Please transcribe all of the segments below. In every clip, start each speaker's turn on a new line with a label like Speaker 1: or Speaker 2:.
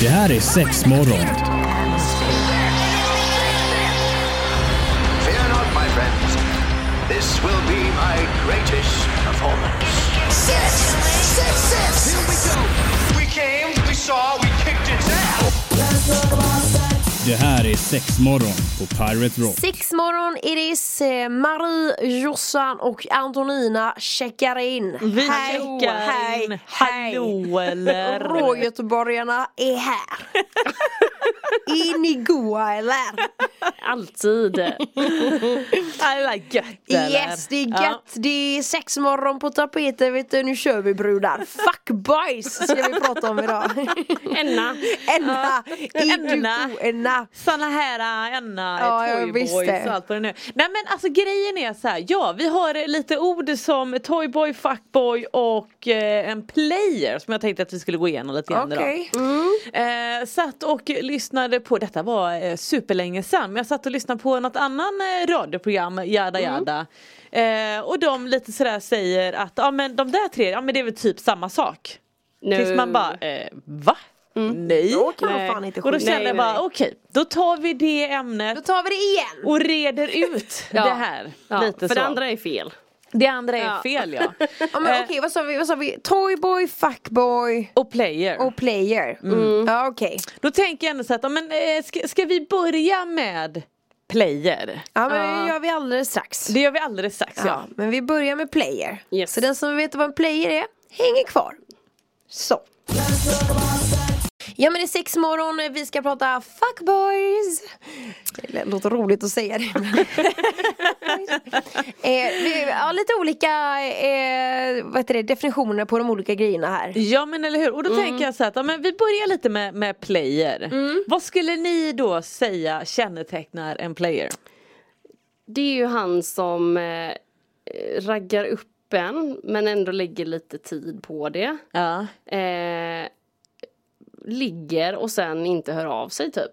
Speaker 1: Det här är sex morgon.
Speaker 2: Fear not, my friends. This will be my greatest performance.
Speaker 3: Six, six, six. Here we go.
Speaker 2: We came, we saw, we kicked its ass.
Speaker 1: Det här är sex morgon på Pirate Rock.
Speaker 4: Sex morgon, Iris, eh, Marie, Jossan och Antonina checkar in.
Speaker 5: Vi
Speaker 4: Hej,
Speaker 5: checkar
Speaker 4: hej,
Speaker 5: in.
Speaker 4: hej.
Speaker 5: Hallå eller?
Speaker 4: Rågöteborgarna är här. in i goa eller?
Speaker 5: Alltid. Alla gött eller?
Speaker 4: Yes, det är gött.
Speaker 5: Ja.
Speaker 4: Det är sex morgon på tapeten, vet du. Nu kör vi brudar. Fuck boys ska vi prata om idag.
Speaker 6: Enna.
Speaker 4: Enna,
Speaker 5: Enna.
Speaker 4: Enna. Enna.
Speaker 5: Såna här äh, Anna,
Speaker 4: Ja, jag
Speaker 5: Toyboys
Speaker 4: visste.
Speaker 5: och allt vad det nu är. Nej men alltså grejen är så här, ja vi har eh, lite ord som Toyboy, Fuckboy och eh, en player som jag tänkte att vi skulle gå igenom lite grann idag.
Speaker 4: Okej.
Speaker 5: Eh, satt och lyssnade på, detta var eh, superlänge sedan, men jag satt och lyssnade på något annan eh, radioprogram, Yada
Speaker 6: Mm.
Speaker 5: Yada. Eh, och de lite sådär säger att ja men de där tre, ja men det är väl typ samma sak.
Speaker 6: Nu. Mm.
Speaker 5: Tills man bara, eh, va? Nej.
Speaker 4: Då kan man
Speaker 6: Nej.
Speaker 4: fan inte
Speaker 5: Och då
Speaker 4: skilja.
Speaker 5: kände jag
Speaker 6: nej.
Speaker 5: bara okej, då tar vi det ämnet
Speaker 4: Då tar vi det igen.
Speaker 5: och reder ut
Speaker 6: Ja.
Speaker 5: det här.
Speaker 6: Ja,
Speaker 5: lite
Speaker 6: för
Speaker 5: så.
Speaker 6: det andra är fel.
Speaker 5: det andra är
Speaker 6: Ja.
Speaker 5: fel ja.
Speaker 4: Ja, men
Speaker 5: Eh,
Speaker 4: Okej, vad sa vi? Vad sa vi? Toyboy, fuckboy.
Speaker 5: och player.
Speaker 4: Och player.
Speaker 5: Mm.
Speaker 4: Ja, okej.
Speaker 5: Då tänker jag ändå så här att ja, men, eh, ska, ska vi börja med player?
Speaker 4: Ja, men det gör vi alldeles strax.
Speaker 5: Det gör vi alldeles strax ja.
Speaker 4: Ja, men vi börjar med player.
Speaker 6: Yes.
Speaker 4: Så den som vet vad en player är, hänger kvar. Så. Ja men det är sex morgon, vi ska prata fuckboys. Det låter roligt att säga det. men- eh, vi har lite olika eh, vad heter det, definitioner på de olika grejerna här.
Speaker 5: Ja men eller hur, och då
Speaker 6: Mm.
Speaker 5: tänker jag så här att ja, men vi börjar lite med, med player.
Speaker 6: Mm.
Speaker 5: Vad skulle ni då säga kännetecknar en player?
Speaker 6: Det är ju han som eh, raggar upp en men ändå lägger lite tid på det.
Speaker 5: Ja.
Speaker 6: Eh, ligger och sen inte hör av sig typ.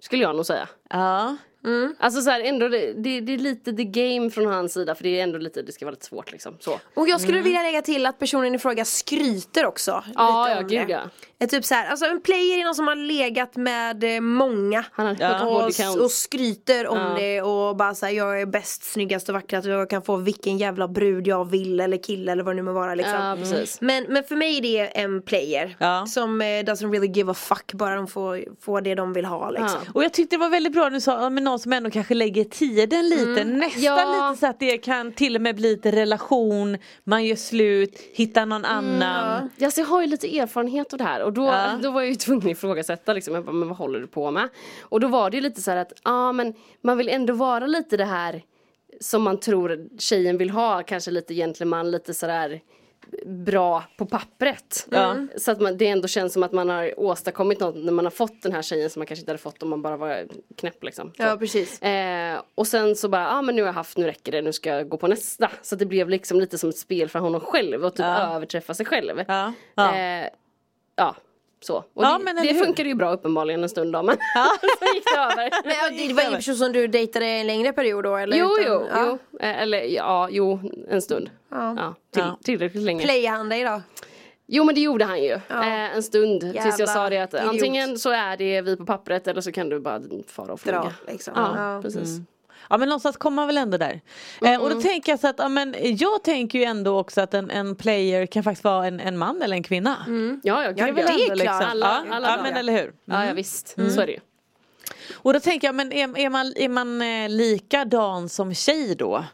Speaker 6: Skulle jag nog säga.
Speaker 5: Ja.
Speaker 4: Mm.
Speaker 6: Alltså så här, ändå det, det, det är lite the game från hans sida för det är ändå lite, det ska vara lite svårt liksom. Så.
Speaker 4: Och jag skulle vilja lägga till att personen i fråga skryter också.
Speaker 6: Ja,
Speaker 4: lite
Speaker 6: ja
Speaker 4: om
Speaker 6: gud
Speaker 4: det.
Speaker 6: ja.
Speaker 4: Är typ så här, alltså en player är någon som har legat med eh, många
Speaker 6: Han har ja. body
Speaker 4: och,
Speaker 6: count.
Speaker 4: och skryter om
Speaker 6: Ja.
Speaker 4: det och bara såhär jag är bäst, snyggast och vackrast och jag kan få vilken jävla brud jag vill eller kille eller vad det nu må vara liksom.
Speaker 6: Ja, precis.
Speaker 4: Men, men för mig är det en player
Speaker 5: Ja.
Speaker 4: som eh, doesn't really give a fuck bara de får, får det de vill ha liksom.
Speaker 5: Och jag tyckte det var väldigt bra när du sa ja, men någon som ändå kanske lägger tiden lite. Nästan
Speaker 6: Mm. Ja.
Speaker 5: lite så att det kan till och med bli lite relation, man gör slut, hittar någon annan.
Speaker 6: Mm, Ehm, Ja, så jag har ju lite erfarenhet av det här och då,
Speaker 5: Ja.
Speaker 6: då var jag ju tvungen att ifrågasätta liksom. jag bara, men vad håller du på med? Och då var det ju lite så här att ja men man vill ändå vara lite det här som man tror tjejen vill ha, kanske lite gentleman, lite sådär bra på pappret. Mm. Så att man, det ändå känns som att man har åstadkommit något när man har fått den här tjejen som man kanske inte hade fått om man bara var knäpp liksom. Så.
Speaker 4: Ja, precis.
Speaker 6: Eh, och sen så bara, ja ah, men nu har jag haft, nu räcker det, nu ska jag gå på nästa. Så att det blev liksom lite som ett spel för honom själv och typ överträffa sig själv.
Speaker 5: Ja. Ja.
Speaker 6: Eh, ja. Så. Och
Speaker 5: Ja,
Speaker 6: det,
Speaker 5: men eller
Speaker 6: det
Speaker 5: hur?
Speaker 6: funkade ju bra uppenbarligen en stund då men sen gick det över.
Speaker 4: Men, ja, det var ingen person som du dejtade en längre period då eller?
Speaker 6: Jo,
Speaker 4: Utan-
Speaker 6: jo,
Speaker 4: ja.
Speaker 6: jo. Eh, Eller ja, jo, en stund. Ja. till,
Speaker 5: Ja.
Speaker 6: Tillräckligt länge.
Speaker 4: Playar han dig då?
Speaker 6: Jo men det gjorde han ju. Eh, en stund tills
Speaker 4: Jävla
Speaker 6: jag sa det att
Speaker 4: idiot.
Speaker 6: antingen så är det vi på pappret eller så kan du bara fara och flyga.
Speaker 4: Dra liksom.
Speaker 6: Ja,
Speaker 4: Ja.
Speaker 6: precis.
Speaker 5: Ja Mm. men någonstans kommer man väl ändå där. Eh,
Speaker 6: Mm.
Speaker 5: och då tänker jag så att, ja, men jag tänker ju ändå också att en, en player kan faktiskt vara en, en man eller en kvinna.
Speaker 6: Ja, ja, gud,
Speaker 5: är väl
Speaker 6: ja.
Speaker 5: ändå liksom-
Speaker 6: Mm. Alla,
Speaker 5: ja,
Speaker 6: alla
Speaker 5: ja,
Speaker 6: dagar.
Speaker 5: men eller hur.
Speaker 6: Ja, ja visst. Så är det ju.
Speaker 5: Och då tänker jag, men är, är man, är man eh, likadan som tjej då?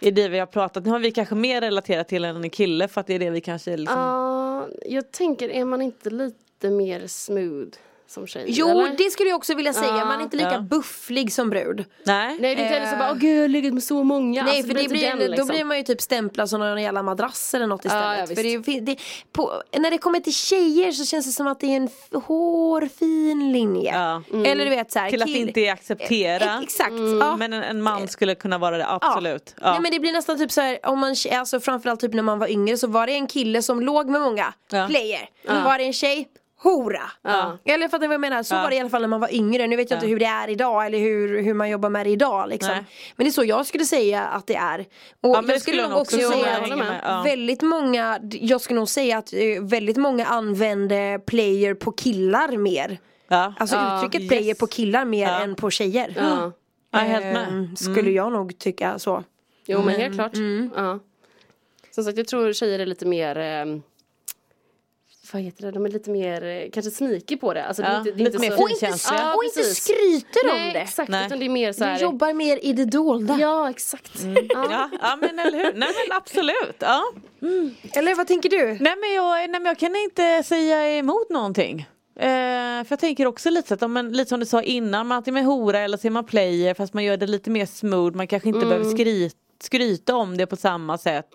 Speaker 5: I det vi har pratat, nu har vi kanske mer relaterat till en kille för att det är det vi kanske liksom...
Speaker 6: Ja, jag tänker, är man inte lite mer smooth som tjej?
Speaker 4: Jo,
Speaker 6: eller?
Speaker 4: det skulle jag också vilja säga.
Speaker 6: Ja.
Speaker 4: Man är inte lika
Speaker 5: Ja.
Speaker 4: bufflig som brud.
Speaker 5: Nej?
Speaker 6: Nej, det är inte heller så
Speaker 4: Eh.
Speaker 6: bara, åh gud jag har legat med så många.
Speaker 4: Nej
Speaker 6: Alltså,
Speaker 4: för det
Speaker 6: inte
Speaker 4: blir,
Speaker 6: den,
Speaker 4: då blir man ju typ stämplad som någon jävla madrass eller något istället.
Speaker 6: Ja, ja, visst.
Speaker 4: för det, fin- det, på, när det kommer till tjejer så känns det som att det är en f- hårfin linje.
Speaker 5: Ja.
Speaker 4: Mm. Eller du vet såhär.
Speaker 5: Till att
Speaker 4: kill- Eh,
Speaker 5: inte är acceptera.
Speaker 4: Ex- Exakt. Ja.
Speaker 5: Men en, en man skulle kunna vara det,
Speaker 4: Ja.
Speaker 5: absolut. Ja.
Speaker 4: Nej men det blir nästan typ så här, om man, alltså framförallt typ när man var yngre så var det en kille som låg med många
Speaker 5: Ja.
Speaker 4: player. Var det en tjej, hora.
Speaker 6: Ja.
Speaker 4: Eller fattar ni vad jag menar? Så var det i alla fall när man var yngre. Nu vet jag inte hur det är idag eller hur, hur man jobbar med det idag. Liksom.
Speaker 5: Nej.
Speaker 4: Men det är så jag skulle säga att det är. Och
Speaker 5: men det
Speaker 4: jag skulle
Speaker 5: skulle
Speaker 4: nog
Speaker 5: jag
Speaker 4: också
Speaker 5: nog också
Speaker 4: säga
Speaker 6: säga.
Speaker 4: att
Speaker 6: Jag håller med,
Speaker 5: ja.
Speaker 4: väldigt många, jag skulle nog säga att eh, väldigt många använde player på killar mer.
Speaker 5: Ja.
Speaker 4: Alltså
Speaker 6: Ja,
Speaker 4: uttrycket
Speaker 5: yes.
Speaker 4: player på killar mer
Speaker 5: Ja.
Speaker 4: än på tjejer.
Speaker 6: Ja.
Speaker 5: Ja, helt med. Mm.
Speaker 4: Ehm, Skulle jag nog tycka så.
Speaker 6: Jo men helt klart.
Speaker 4: Mm.
Speaker 6: Ja. Som sagt jag tror tjejer är lite mer ehm, vad heter det? De är lite mer eh, kanske sneaky på det. Alltså, det är
Speaker 5: Ja,
Speaker 6: inte, det är
Speaker 5: lite
Speaker 6: inte
Speaker 5: mer
Speaker 6: så...
Speaker 5: Och inte- finkänsliga.
Speaker 6: Ja,
Speaker 4: och inte
Speaker 6: precis.
Speaker 4: skryter om
Speaker 6: Nej
Speaker 4: det.
Speaker 6: exakt
Speaker 5: Nej.
Speaker 6: utan det är mer så
Speaker 4: Du
Speaker 6: här.
Speaker 4: jobbar Mm. mer i det dolda.
Speaker 6: Ja exakt. Ja.
Speaker 5: Ja, ja men eller hur, nej men absolut. Ja.
Speaker 4: Eller vad tänker du?
Speaker 5: Nej, men jag, nej men jag kan inte säga emot någonting. Eh, för jag tänker också lite, så att om man, lite som du sa innan, man antingen är hora eller så är man player fast man gör det lite mer smooth, man kanske inte
Speaker 4: Mm.
Speaker 5: behöver skryt, skryta om det på samma sätt.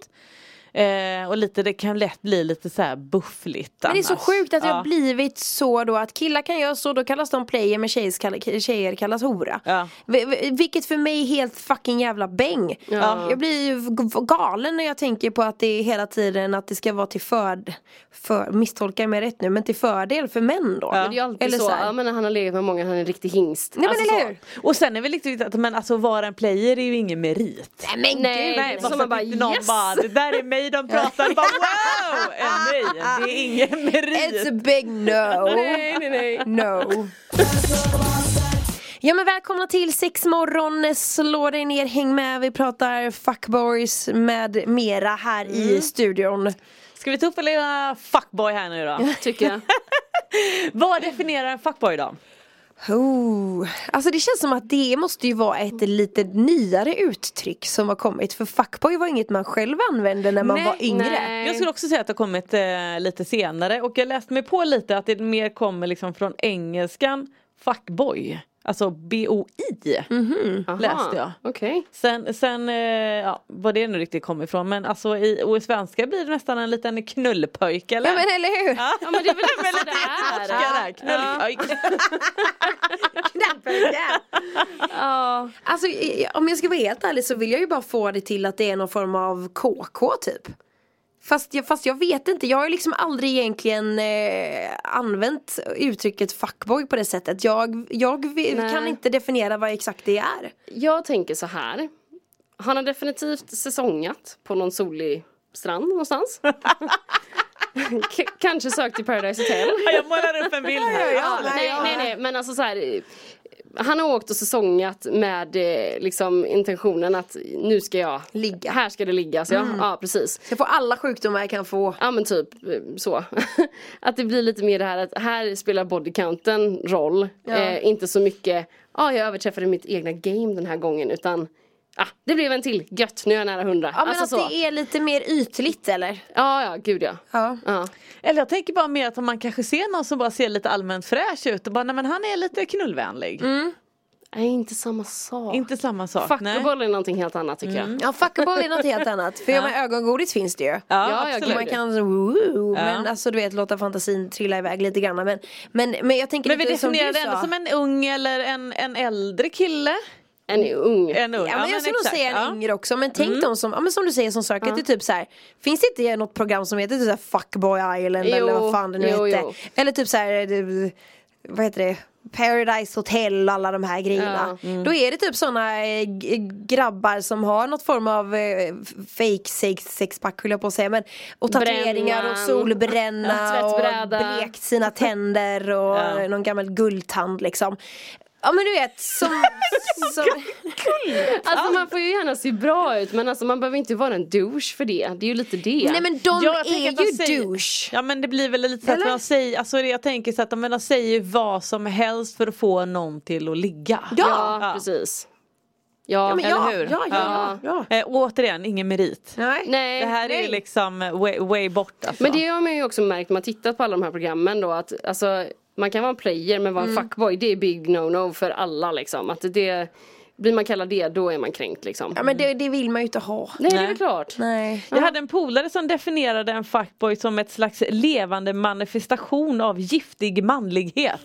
Speaker 5: Eh, och lite, det kan lätt bli lite så här buffligt
Speaker 4: Men det är så
Speaker 5: annars.
Speaker 4: sjukt att det
Speaker 5: ja.
Speaker 4: har blivit så då att killar kan göra så, då kallas de player men tjejer, kall- tjejer kallas hora.
Speaker 5: Ja.
Speaker 4: Vi- vi- Vilket för mig är helt fucking jävla bäng.
Speaker 6: Ja.
Speaker 4: Jag blir ju g- galen när jag tänker på att det är hela tiden att det ska vara till förd, för, misstolkar jag mig rätt nu, men till fördel för män då.
Speaker 6: Men Det är ju alltid
Speaker 4: Eller
Speaker 6: så,
Speaker 4: här.
Speaker 6: ja, men när han har legat med många, han är en riktig hingst.
Speaker 4: Nej men
Speaker 6: Alltså
Speaker 4: eller
Speaker 6: så.
Speaker 4: hur?
Speaker 5: Och sen är väl riktigt att men alltså, vara en player är ju ingen merit.
Speaker 4: Nej men
Speaker 6: Nej,
Speaker 4: gud.
Speaker 6: nej,
Speaker 5: bara
Speaker 6: som
Speaker 5: så
Speaker 6: man
Speaker 5: att
Speaker 6: bara,
Speaker 5: inte någon
Speaker 6: yes!
Speaker 5: bara, det där är mig de pratar bara wow! Eh, nej, det är ingen merit.
Speaker 4: It's a big no.
Speaker 6: Nej nej nej.
Speaker 4: No. Ja men välkomna till sexmorgon, slå dig ner, häng med, vi pratar fuckboys med mera här i studion.
Speaker 5: Ska vi ta upp en lilla fuckboy här nu då?
Speaker 6: Tycker jag.
Speaker 5: Vad definierar en fuckboy då?
Speaker 4: Oh. Alltså det känns som att det måste ju vara ett lite nyare uttryck som har kommit för fuckboy var inget man själv använde när man
Speaker 5: Nej,
Speaker 4: var yngre.
Speaker 6: nej.
Speaker 5: Jag skulle också säga att det har kommit eh, lite senare och jag läste mig på lite att det mer kommer liksom från engelskan fuckboy. Alltså B-O-I
Speaker 4: Mm.
Speaker 5: läste jag.
Speaker 6: Okej.
Speaker 5: Sen, sen eh, ja, vad det nu riktigt kommer ifrån men alltså i, och i svenska blir det nästan en liten knullpöjk eller?
Speaker 4: Ja men eller hur?
Speaker 6: Ja men det är väl lite så det är.
Speaker 5: Norska där, knullpöjk.
Speaker 6: Ja.
Speaker 4: Alltså i- om jag ska vara helt ärlig så vill jag ju bara få det till att det är någon form av KK typ. Fast jag, fast jag vet inte, jag har ju liksom aldrig egentligen eh, använt uttrycket fuckboy på det sättet. Jag, jag vi-
Speaker 6: Nej.
Speaker 4: kan inte definiera vad exakt det är.
Speaker 6: Jag tänker så här. Han har definitivt säsongat på någon solig strand någonstans. K- kanske sökt till Paradise Hotel.
Speaker 5: Ja, jag målar upp en bild här.
Speaker 6: nej, nej, nej, men alltså så här. eh, Han har åkt och säsongat med eh, liksom intentionen att nu ska jag
Speaker 4: Ligga.
Speaker 6: Här ska det ligga. Så jag, Ja, precis.
Speaker 4: Jag får alla sjukdomar jag kan få.
Speaker 6: Ja men typ eh, så. Att det blir lite mer det här att här spelar bodycounten roll. Eh, inte så mycket, ja ah, jag överträffade mitt egna game den här gången utan Ah, det blev en till, gött, nu är jag nära hundra.
Speaker 4: Ja men
Speaker 6: alltså
Speaker 4: att
Speaker 6: så.
Speaker 4: det är lite mer ytligt eller?
Speaker 6: Ja, ja, gud ja.
Speaker 4: Ja.
Speaker 6: Ja.
Speaker 5: Eller jag tänker bara mer att man kanske ser någon som bara ser lite allmänt fräsch ut och bara nej men han är lite knullvänlig.
Speaker 6: Nej, inte samma sak.
Speaker 5: Inte samma sak.
Speaker 6: Fuck
Speaker 5: nej.
Speaker 6: och boll är någonting helt annat tycker jag.
Speaker 4: Ja fuckboy är något helt annat. För ja. med ögongodis finns det ju.
Speaker 5: Ja,
Speaker 6: Ja, jag
Speaker 5: absolut.
Speaker 6: kan-
Speaker 4: Man kan så, woo, men alltså du vet låta fantasin trilla iväg lite grann men, men, men jag tänker
Speaker 5: Men vi
Speaker 4: lite som du
Speaker 5: definierar det
Speaker 4: sa.
Speaker 5: ändå som en ung eller en, en äldre kille.
Speaker 6: En ung.
Speaker 5: En ung.
Speaker 4: Ja, men jag skulle nog
Speaker 5: exakt,
Speaker 4: säga en
Speaker 5: ja.
Speaker 4: yngre också men tänk de som, ja, men som du säger som söker till typ så här. Finns det inte något program som heter typ så här Fuckboy Island
Speaker 6: Jo,
Speaker 4: eller vad fan det nu
Speaker 6: jo,
Speaker 4: hette?
Speaker 6: jo.
Speaker 4: Eller typ så här, det- vad heter det? Paradise Hotel alla de här grejerna. Då är det typ sådana eh, g- grabbar som har något form av eh, fake sex, sexpack höll jag på att säga men och tatueringar och
Speaker 6: Brännan.
Speaker 4: solbränna och
Speaker 6: Tvättbräda.
Speaker 4: blekt sina tänder och
Speaker 5: Ja.
Speaker 4: någon gammal guldtand liksom. Ja men du vet som, som
Speaker 6: Alltså man får ju gärna se bra ut men alltså man behöver inte vara en douche för det. Det är ju lite det.
Speaker 4: Nej men de
Speaker 5: Ja, jag tänker att
Speaker 4: är
Speaker 5: de
Speaker 4: ju
Speaker 5: säger-
Speaker 4: douche.
Speaker 5: Ja men det blir väl lite så att
Speaker 4: Eller?
Speaker 5: de säger, alltså det jag tänker så att de, men de säger vad som helst för att få någon till att ligga.
Speaker 6: ja, precis. Ja,
Speaker 4: men
Speaker 5: Eller
Speaker 4: ja,
Speaker 5: hur?
Speaker 4: ja, ja, ja,
Speaker 5: Eh, återigen, ingen merit.
Speaker 4: Nej.
Speaker 6: Nej.
Speaker 5: Det här är ju
Speaker 6: nej.
Speaker 5: liksom eh, way, way bort alltså.
Speaker 6: Men
Speaker 4: liksom.
Speaker 6: det har man ju också märkt när man tittat på alla de här programmen då att alltså, man kan vara en player men vara
Speaker 4: Mm.
Speaker 6: en fuckboy det är big no-no för alla liksom. Att det, blir man kallad det då är man kränkt liksom.
Speaker 4: Ja men det, det vill man ju inte ha.
Speaker 6: Nej, det är väl klart.
Speaker 4: Nej.
Speaker 5: Jag hade en polare som definierade en fuckboy som ett slags levande manifestation av giftig manlighet.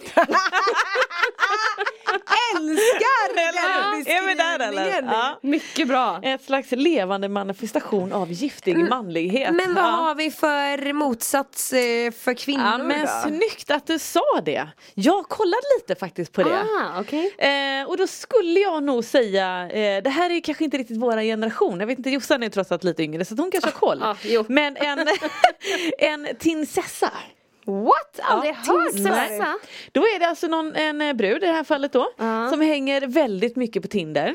Speaker 4: älskar den
Speaker 5: Är vi där eller?
Speaker 4: beskrivningen!
Speaker 5: Ja.
Speaker 6: Mycket bra.
Speaker 5: Ett slags levande manifestation av giftig manlighet.
Speaker 4: Men vad
Speaker 5: Ja.
Speaker 4: har vi för motsats eh, för kvinnor
Speaker 5: Ja, men
Speaker 4: då?
Speaker 5: snyggt att du sa det. Jag kollade lite faktiskt på det.
Speaker 6: Ah, okej.
Speaker 5: Eh, och då skulle jag nog säga, eh, det här är ju kanske inte riktigt våran generation, jag vet inte Jossan är ju trots allt lite yngre så att hon kanske har koll.
Speaker 6: ah, jo.
Speaker 5: Men en, en tinsessa.
Speaker 4: What? Aldrig hört
Speaker 5: tinsessa.
Speaker 4: det.
Speaker 6: Tinsessa? Ah.
Speaker 5: Då är det alltså någon, en eh, brud i det här fallet då som hänger väldigt mycket på Tinder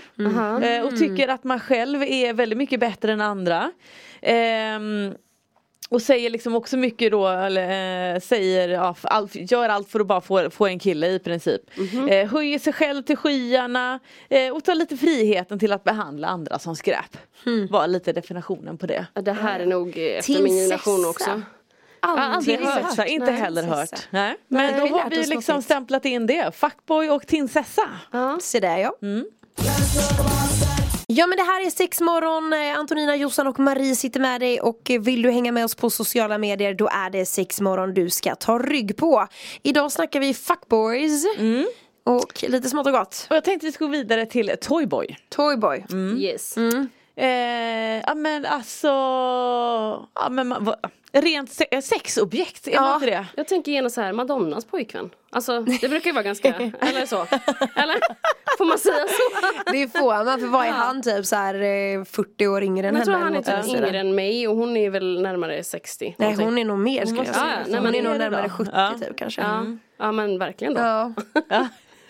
Speaker 5: eh, och tycker att man själv är väldigt mycket bättre än andra. Ehm, och säger liksom också mycket då, eller, eh, säger, ja, f- allt, gör allt för att bara få, få en kille i princip. Eh, höjer sig själv till skyarna eh, och tar lite friheten till att behandla andra som skräp. Var lite definitionen på det.
Speaker 6: Ja, Det här är nog eh, efter min
Speaker 4: Tinsessa.
Speaker 6: generation också.
Speaker 5: Aldrig
Speaker 6: Aldrig
Speaker 5: hört,
Speaker 4: hört.
Speaker 5: inte
Speaker 4: Nej,
Speaker 5: heller
Speaker 4: prinsessa.
Speaker 5: hört. Nej. Men
Speaker 4: Nej, vi
Speaker 5: då
Speaker 4: har
Speaker 5: har
Speaker 4: lärt
Speaker 5: vi
Speaker 4: oss något
Speaker 5: liksom
Speaker 4: nytt.
Speaker 5: stämplat in det. Fuckboy och tinsessa.
Speaker 4: Se där ja.
Speaker 5: Mm.
Speaker 4: Ja men det här är sex morgon. Eh, Antonina, Jossan och Marie sitter med dig och eh, vill du hänga med oss på sociala medier då är det sex morgon du ska ta rygg på. Idag snackar vi fuckboys
Speaker 5: Mm.
Speaker 4: och lite smått och gott.
Speaker 5: Och jag tänkte vi skulle gå vidare till Toyboy.
Speaker 4: Toyboy.
Speaker 6: Yes.
Speaker 4: Mm.
Speaker 5: Eh, ja men alltså, ja, men, man- vad- rent se- eh, sexobjekt, är
Speaker 4: Ja.
Speaker 5: det inte det?
Speaker 6: Jag tänker genast så här, Madonnas pojkvän. Alltså det brukar ju vara ganska, eller så. Eller? Får man säga så?
Speaker 4: Det får man för vad är han typ så här eh, 40 år yngre än
Speaker 6: Jag tror
Speaker 4: henne?
Speaker 6: han är
Speaker 4: eller något
Speaker 6: typ
Speaker 4: sådär.
Speaker 6: yngre än mig och hon är väl närmare 60.
Speaker 4: Nej
Speaker 6: någonting.
Speaker 4: hon är nog mer skulle jag
Speaker 6: måste-
Speaker 4: säga.
Speaker 6: Ja, nej,
Speaker 4: hon
Speaker 6: men
Speaker 4: är nog
Speaker 5: är det
Speaker 4: närmare
Speaker 5: då?
Speaker 4: 70
Speaker 5: Ja.
Speaker 4: typ kanske.
Speaker 6: Ja. ja men verkligen då.
Speaker 4: Ja.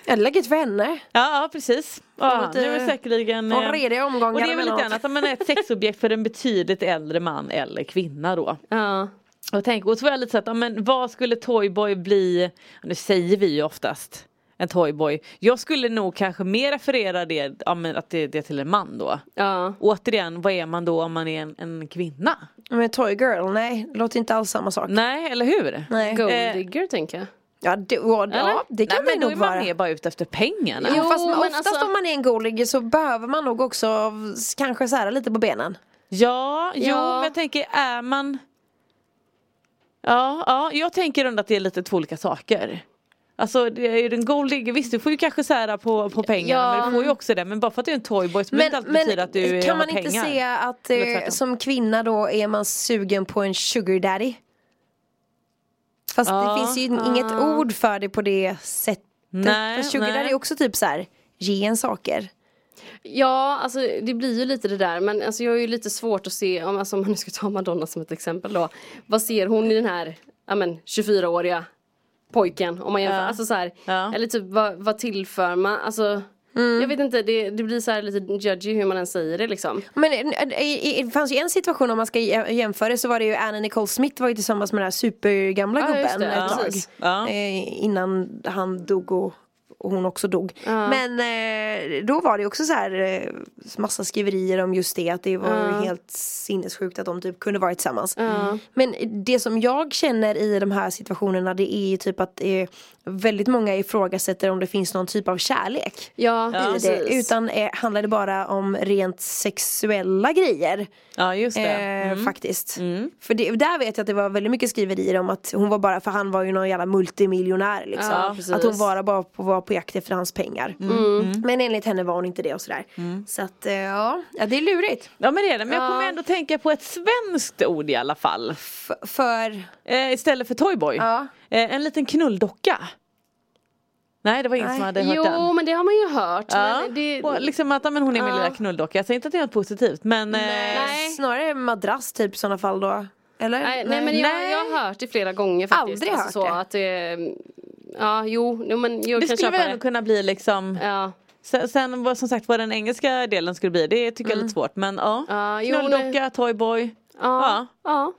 Speaker 4: Eller läget för henne.
Speaker 5: Ja, ja precis. Ja,
Speaker 4: lite-
Speaker 5: nu är säkerligen...
Speaker 4: och
Speaker 5: eh,
Speaker 4: rediga omgångar
Speaker 5: Och det är väl lite
Speaker 4: emellanåt.
Speaker 5: annat, att man är ett sexobjekt för en betydligt äldre man eller kvinna då.
Speaker 6: Ja.
Speaker 5: Och, tänk, och så var jag lite så att, ja, men vad skulle Toyboy bli? Nu säger vi ju oftast en Toyboy. Jag skulle nog kanske mer referera det, ja, men att det, det är till en man då.
Speaker 6: ja.
Speaker 5: Återigen, vad är man då om man är en, en kvinna?
Speaker 4: Men Toy Girl, nej, låter inte alls samma sak.
Speaker 5: Nej, eller hur?
Speaker 4: Nej.
Speaker 5: Eh,
Speaker 6: Golddigger tänker jag.
Speaker 4: Ja, det, ja,
Speaker 6: Eller?
Speaker 4: det kan
Speaker 5: Nej, men
Speaker 4: det
Speaker 5: då
Speaker 4: nog
Speaker 5: är
Speaker 4: vara.
Speaker 5: man mer bara ute efter pengarna.
Speaker 4: Jo,
Speaker 6: Jo,
Speaker 4: Fast
Speaker 6: men
Speaker 4: oftast
Speaker 6: alltså-
Speaker 4: om man är en goligger så behöver man nog också av- kanske sära lite på benen.
Speaker 5: Ja, jo,
Speaker 6: Ja.
Speaker 5: men jag tänker är man... Ja, ja, jag tänker ändå att det är lite två olika saker. Alltså det är ju den golddigger, visst du får ju kanske sära på, på pengarna
Speaker 6: Ja.
Speaker 5: men du får ju också det men bara för att du är en toyboy så behöver inte alltid betyda att du
Speaker 4: kan
Speaker 5: har
Speaker 4: man
Speaker 5: pengar.
Speaker 4: inte säga att
Speaker 5: Eller
Speaker 4: eh,
Speaker 5: tvärtom.
Speaker 4: som kvinna då är man sugen på en sugar daddy? Fast
Speaker 5: Ja.
Speaker 4: det finns ju inget ord för det på det sättet.
Speaker 5: Nej,
Speaker 4: För sugar
Speaker 5: nej.
Speaker 4: daddy är också typ så här, ge en saker.
Speaker 6: Ja, alltså det blir ju lite det där. Men alltså, jag är ju lite svårt att se, om, alltså, om man nu ska ta Madonna som ett exempel då. Vad ser hon i den här ja, men, 24-åriga pojken? Om man jämför,
Speaker 5: Ja.
Speaker 6: alltså, så här,
Speaker 5: Ja. Mm.
Speaker 6: Eller typ vad, vad tillför man? Alltså, Jag vet inte, det, det blir så här lite judgy hur man än säger det liksom.
Speaker 4: Men eh, eh, det fanns ju en situation om man ska jä- jämföra det, så var det ju Anna Nicole Smith var ju tillsammans med den här supergamla
Speaker 6: Ja, just
Speaker 4: gubben
Speaker 6: det. Ja,
Speaker 4: ett tag.
Speaker 6: precis.
Speaker 5: Ja.
Speaker 4: Eh, innan han dog och, och hon också dog. Men eh, då var det ju också så här eh, massa skriverier om just det att det var ju helt sinnessjukt att de typ kunde vara tillsammans. Men det som jag känner i de här situationerna det är ju typ att eh, väldigt många ifrågasätter om det finns någon typ av kärlek
Speaker 6: Ja,
Speaker 4: i det utan eh, handlar det bara om rent sexuella grejer.
Speaker 5: Ja just det.
Speaker 4: Eh,
Speaker 6: Mm.
Speaker 4: Faktiskt. För det, där vet jag att det var väldigt mycket skriverier om att hon var bara, för han var ju någon jävla multimiljonär liksom.
Speaker 6: Ja, precis. Mm.
Speaker 4: att hon bara, bara på, var på jakt efter hans pengar. Men enligt henne var hon inte det och sådär. Så att eh, ja, ja, det är lurigt.
Speaker 5: Ja men det är det, men jag kommer ändå tänka på ett svenskt ord i alla fall.
Speaker 4: F- för,
Speaker 5: Eh, istället för toyboy.
Speaker 4: Ja.
Speaker 5: Eh, en liten knulldocka. Nej det var ingen
Speaker 4: Nej.
Speaker 5: som hade hört den.
Speaker 6: Jo, men det har man ju hört.
Speaker 5: Ja.
Speaker 6: Men det,
Speaker 5: och liksom att ja, men hon är min
Speaker 6: Ja.
Speaker 5: lilla knulldocka. Jag säger inte att det är något positivt men eh,
Speaker 6: Nej.
Speaker 4: snarare madrass typ i sådana fall då. Eller?
Speaker 6: Nej, nej men jag,
Speaker 5: Nej.
Speaker 6: jag har hört det flera gånger faktiskt.
Speaker 4: Aldrig hört
Speaker 6: alltså, så
Speaker 4: det.
Speaker 6: Att det. Ja, jo, jo men jag
Speaker 5: det
Speaker 6: kan
Speaker 5: skulle
Speaker 6: köpa
Speaker 5: väl ändå
Speaker 6: det.
Speaker 5: kunna bli liksom
Speaker 6: Ja.
Speaker 5: Sen, sen vad- som sagt vad den engelska delen skulle bli det tycker jag är lite svårt men ja.
Speaker 6: Ja, jo,
Speaker 5: Knulldocka, toyboy.
Speaker 6: Ja.
Speaker 5: Ja.
Speaker 6: Ja.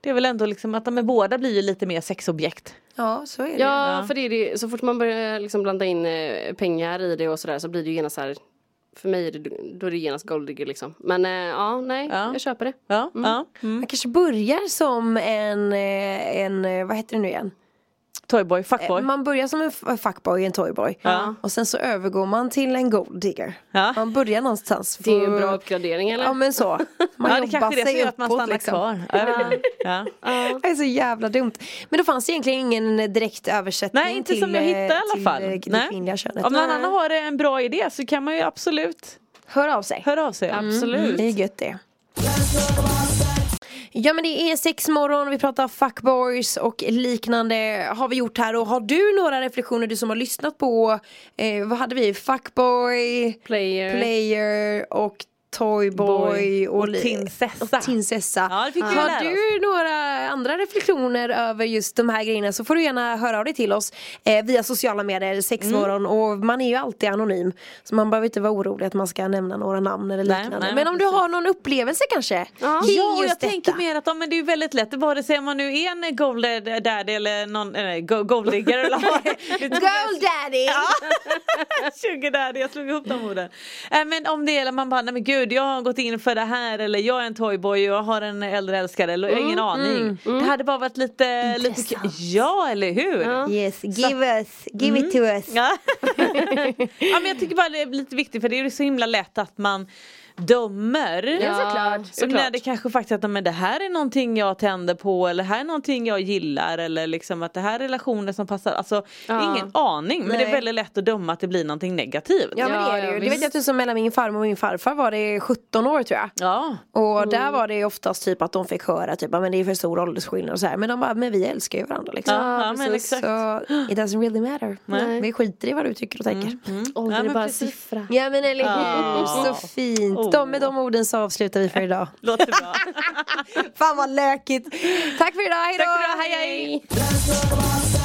Speaker 5: Det är väl ändå liksom att de är båda blir ju lite mer sexobjekt.
Speaker 4: Ja så är det ju.
Speaker 6: ja, för det är det, så fort man börjar liksom blanda in eh, pengar i det och sådär så blir det ju genast så här. För mig är det, då är det genast golddigger liksom. Men eh, ja, nej,
Speaker 5: Ja.
Speaker 6: jag köper det.
Speaker 5: Ja, ja. Mm.
Speaker 4: Man kanske börjar som en, eh, en eh, vad heter det nu igen?
Speaker 5: Toyboy, fuckboy.
Speaker 4: Man börjar som en f- fuckboy, en toyboy.
Speaker 5: Ja.
Speaker 4: Och sen så övergår man till en gold digger.
Speaker 5: Ja.
Speaker 4: Man börjar någonstans.
Speaker 6: Det är ju en
Speaker 4: för-
Speaker 5: Mm.
Speaker 6: bra uppgradering eller?
Speaker 4: Ja men så. Man
Speaker 5: ja, det
Speaker 4: jobbar
Speaker 5: kanske är det som
Speaker 4: sig
Speaker 5: gör att man
Speaker 4: uppåt
Speaker 5: stannar
Speaker 4: liksom.
Speaker 5: kvar. Ja. Ja.
Speaker 4: Det är så jävla dumt. Men då fanns det egentligen ingen direkt översättning
Speaker 5: Nej, inte
Speaker 4: till,
Speaker 5: som jag
Speaker 4: eh,
Speaker 5: hittade i alla
Speaker 4: till,
Speaker 5: fall.
Speaker 4: eh, det
Speaker 5: Nej.
Speaker 4: kvinnliga könet.
Speaker 5: Om någon annan har en bra idé så kan man ju absolut
Speaker 4: Hör av sig.
Speaker 5: höra av sig.
Speaker 6: Absolut.
Speaker 4: Det är gött det. Ja men det är sex morgon, vi pratar fuckboys och liknande har vi gjort här och har du några reflektioner du som har lyssnat på eh, vad hade vi, fuckboy,
Speaker 6: Player.
Speaker 4: player och toyboy
Speaker 6: Boy.
Speaker 4: och,
Speaker 5: Och
Speaker 4: li-
Speaker 5: tinsessa.
Speaker 4: och tinsessa.
Speaker 5: Ja, det fick vi ju lära
Speaker 4: har du några andra reflektioner över just de här grejerna så får du gärna höra av dig till oss eh, via sociala medier,
Speaker 5: Mm.
Speaker 4: sexmorgon och man är ju alltid anonym så man behöver inte vara orolig att man ska nämna några namn eller
Speaker 5: Nej,
Speaker 4: liknande.
Speaker 5: nej,
Speaker 4: men
Speaker 5: men
Speaker 4: om du har någon upplevelse kanske
Speaker 6: Ja.
Speaker 4: kring
Speaker 5: Ja, och jag
Speaker 4: just
Speaker 5: tänker
Speaker 4: detta.
Speaker 5: mer att ja, men det är ju väldigt lätt, vare sig man nu är en golden daddy eller någon, nej, go- golddigger eller
Speaker 4: Girl daddy!
Speaker 5: Sugar daddy, jag slog ihop de orden. Äh, men om det är att man bara, nej men gud jag har gått in för det här eller jag är en toyboy och jag har en äldre älskare eller jag har
Speaker 4: Mm,
Speaker 5: ingen aning. Det hade bara varit lite, lite kul. Ja eller hur? Ja. Mm.
Speaker 4: Yes, give us, give it to us.
Speaker 5: Ja. men jag tycker bara det är lite viktigt för det är ju så himla lätt att man dömer.
Speaker 6: Ja, såklart.
Speaker 5: Så
Speaker 6: såklart.
Speaker 5: när det kanske faktiskt att men det här är någonting jag tänder på eller det här är någonting jag gillar eller liksom att det här är relationer som passar. Alltså
Speaker 6: Ja.
Speaker 5: ingen aning men det
Speaker 4: Nej.
Speaker 5: är väldigt lätt att döma att det blir någonting negativt.
Speaker 4: Ja men det är
Speaker 6: Ja,
Speaker 4: det
Speaker 6: ja,
Speaker 4: ju. Det
Speaker 6: visst.
Speaker 4: vet jag att som mellan min farmor och min farfar var det 17 år tror jag.
Speaker 5: Ja.
Speaker 4: Och där var det oftast typ att de fick höra typ "Ah, men det är för stor åldersskillnad och så här. Men de bara, men vi älskar ju varandra liksom.
Speaker 5: Ja, ja, men
Speaker 6: precis.
Speaker 5: exakt.
Speaker 4: Så it doesn't really matter.
Speaker 6: Nej. mm.
Speaker 4: Vi skiter i vad du tycker och tänker.
Speaker 6: Ålder
Speaker 5: Ja,
Speaker 6: är
Speaker 5: men
Speaker 6: bara en
Speaker 5: precis.
Speaker 6: siffra.
Speaker 4: Ja men eller hur,
Speaker 5: Ja.
Speaker 4: så fint.
Speaker 5: Åh.
Speaker 4: De, med de orden så avslutar vi för idag.
Speaker 5: Låter bra.
Speaker 4: Fan vad lökigt. Tack för idag, hejdå!
Speaker 5: Tack för idag, hej, hej.
Speaker 4: hej.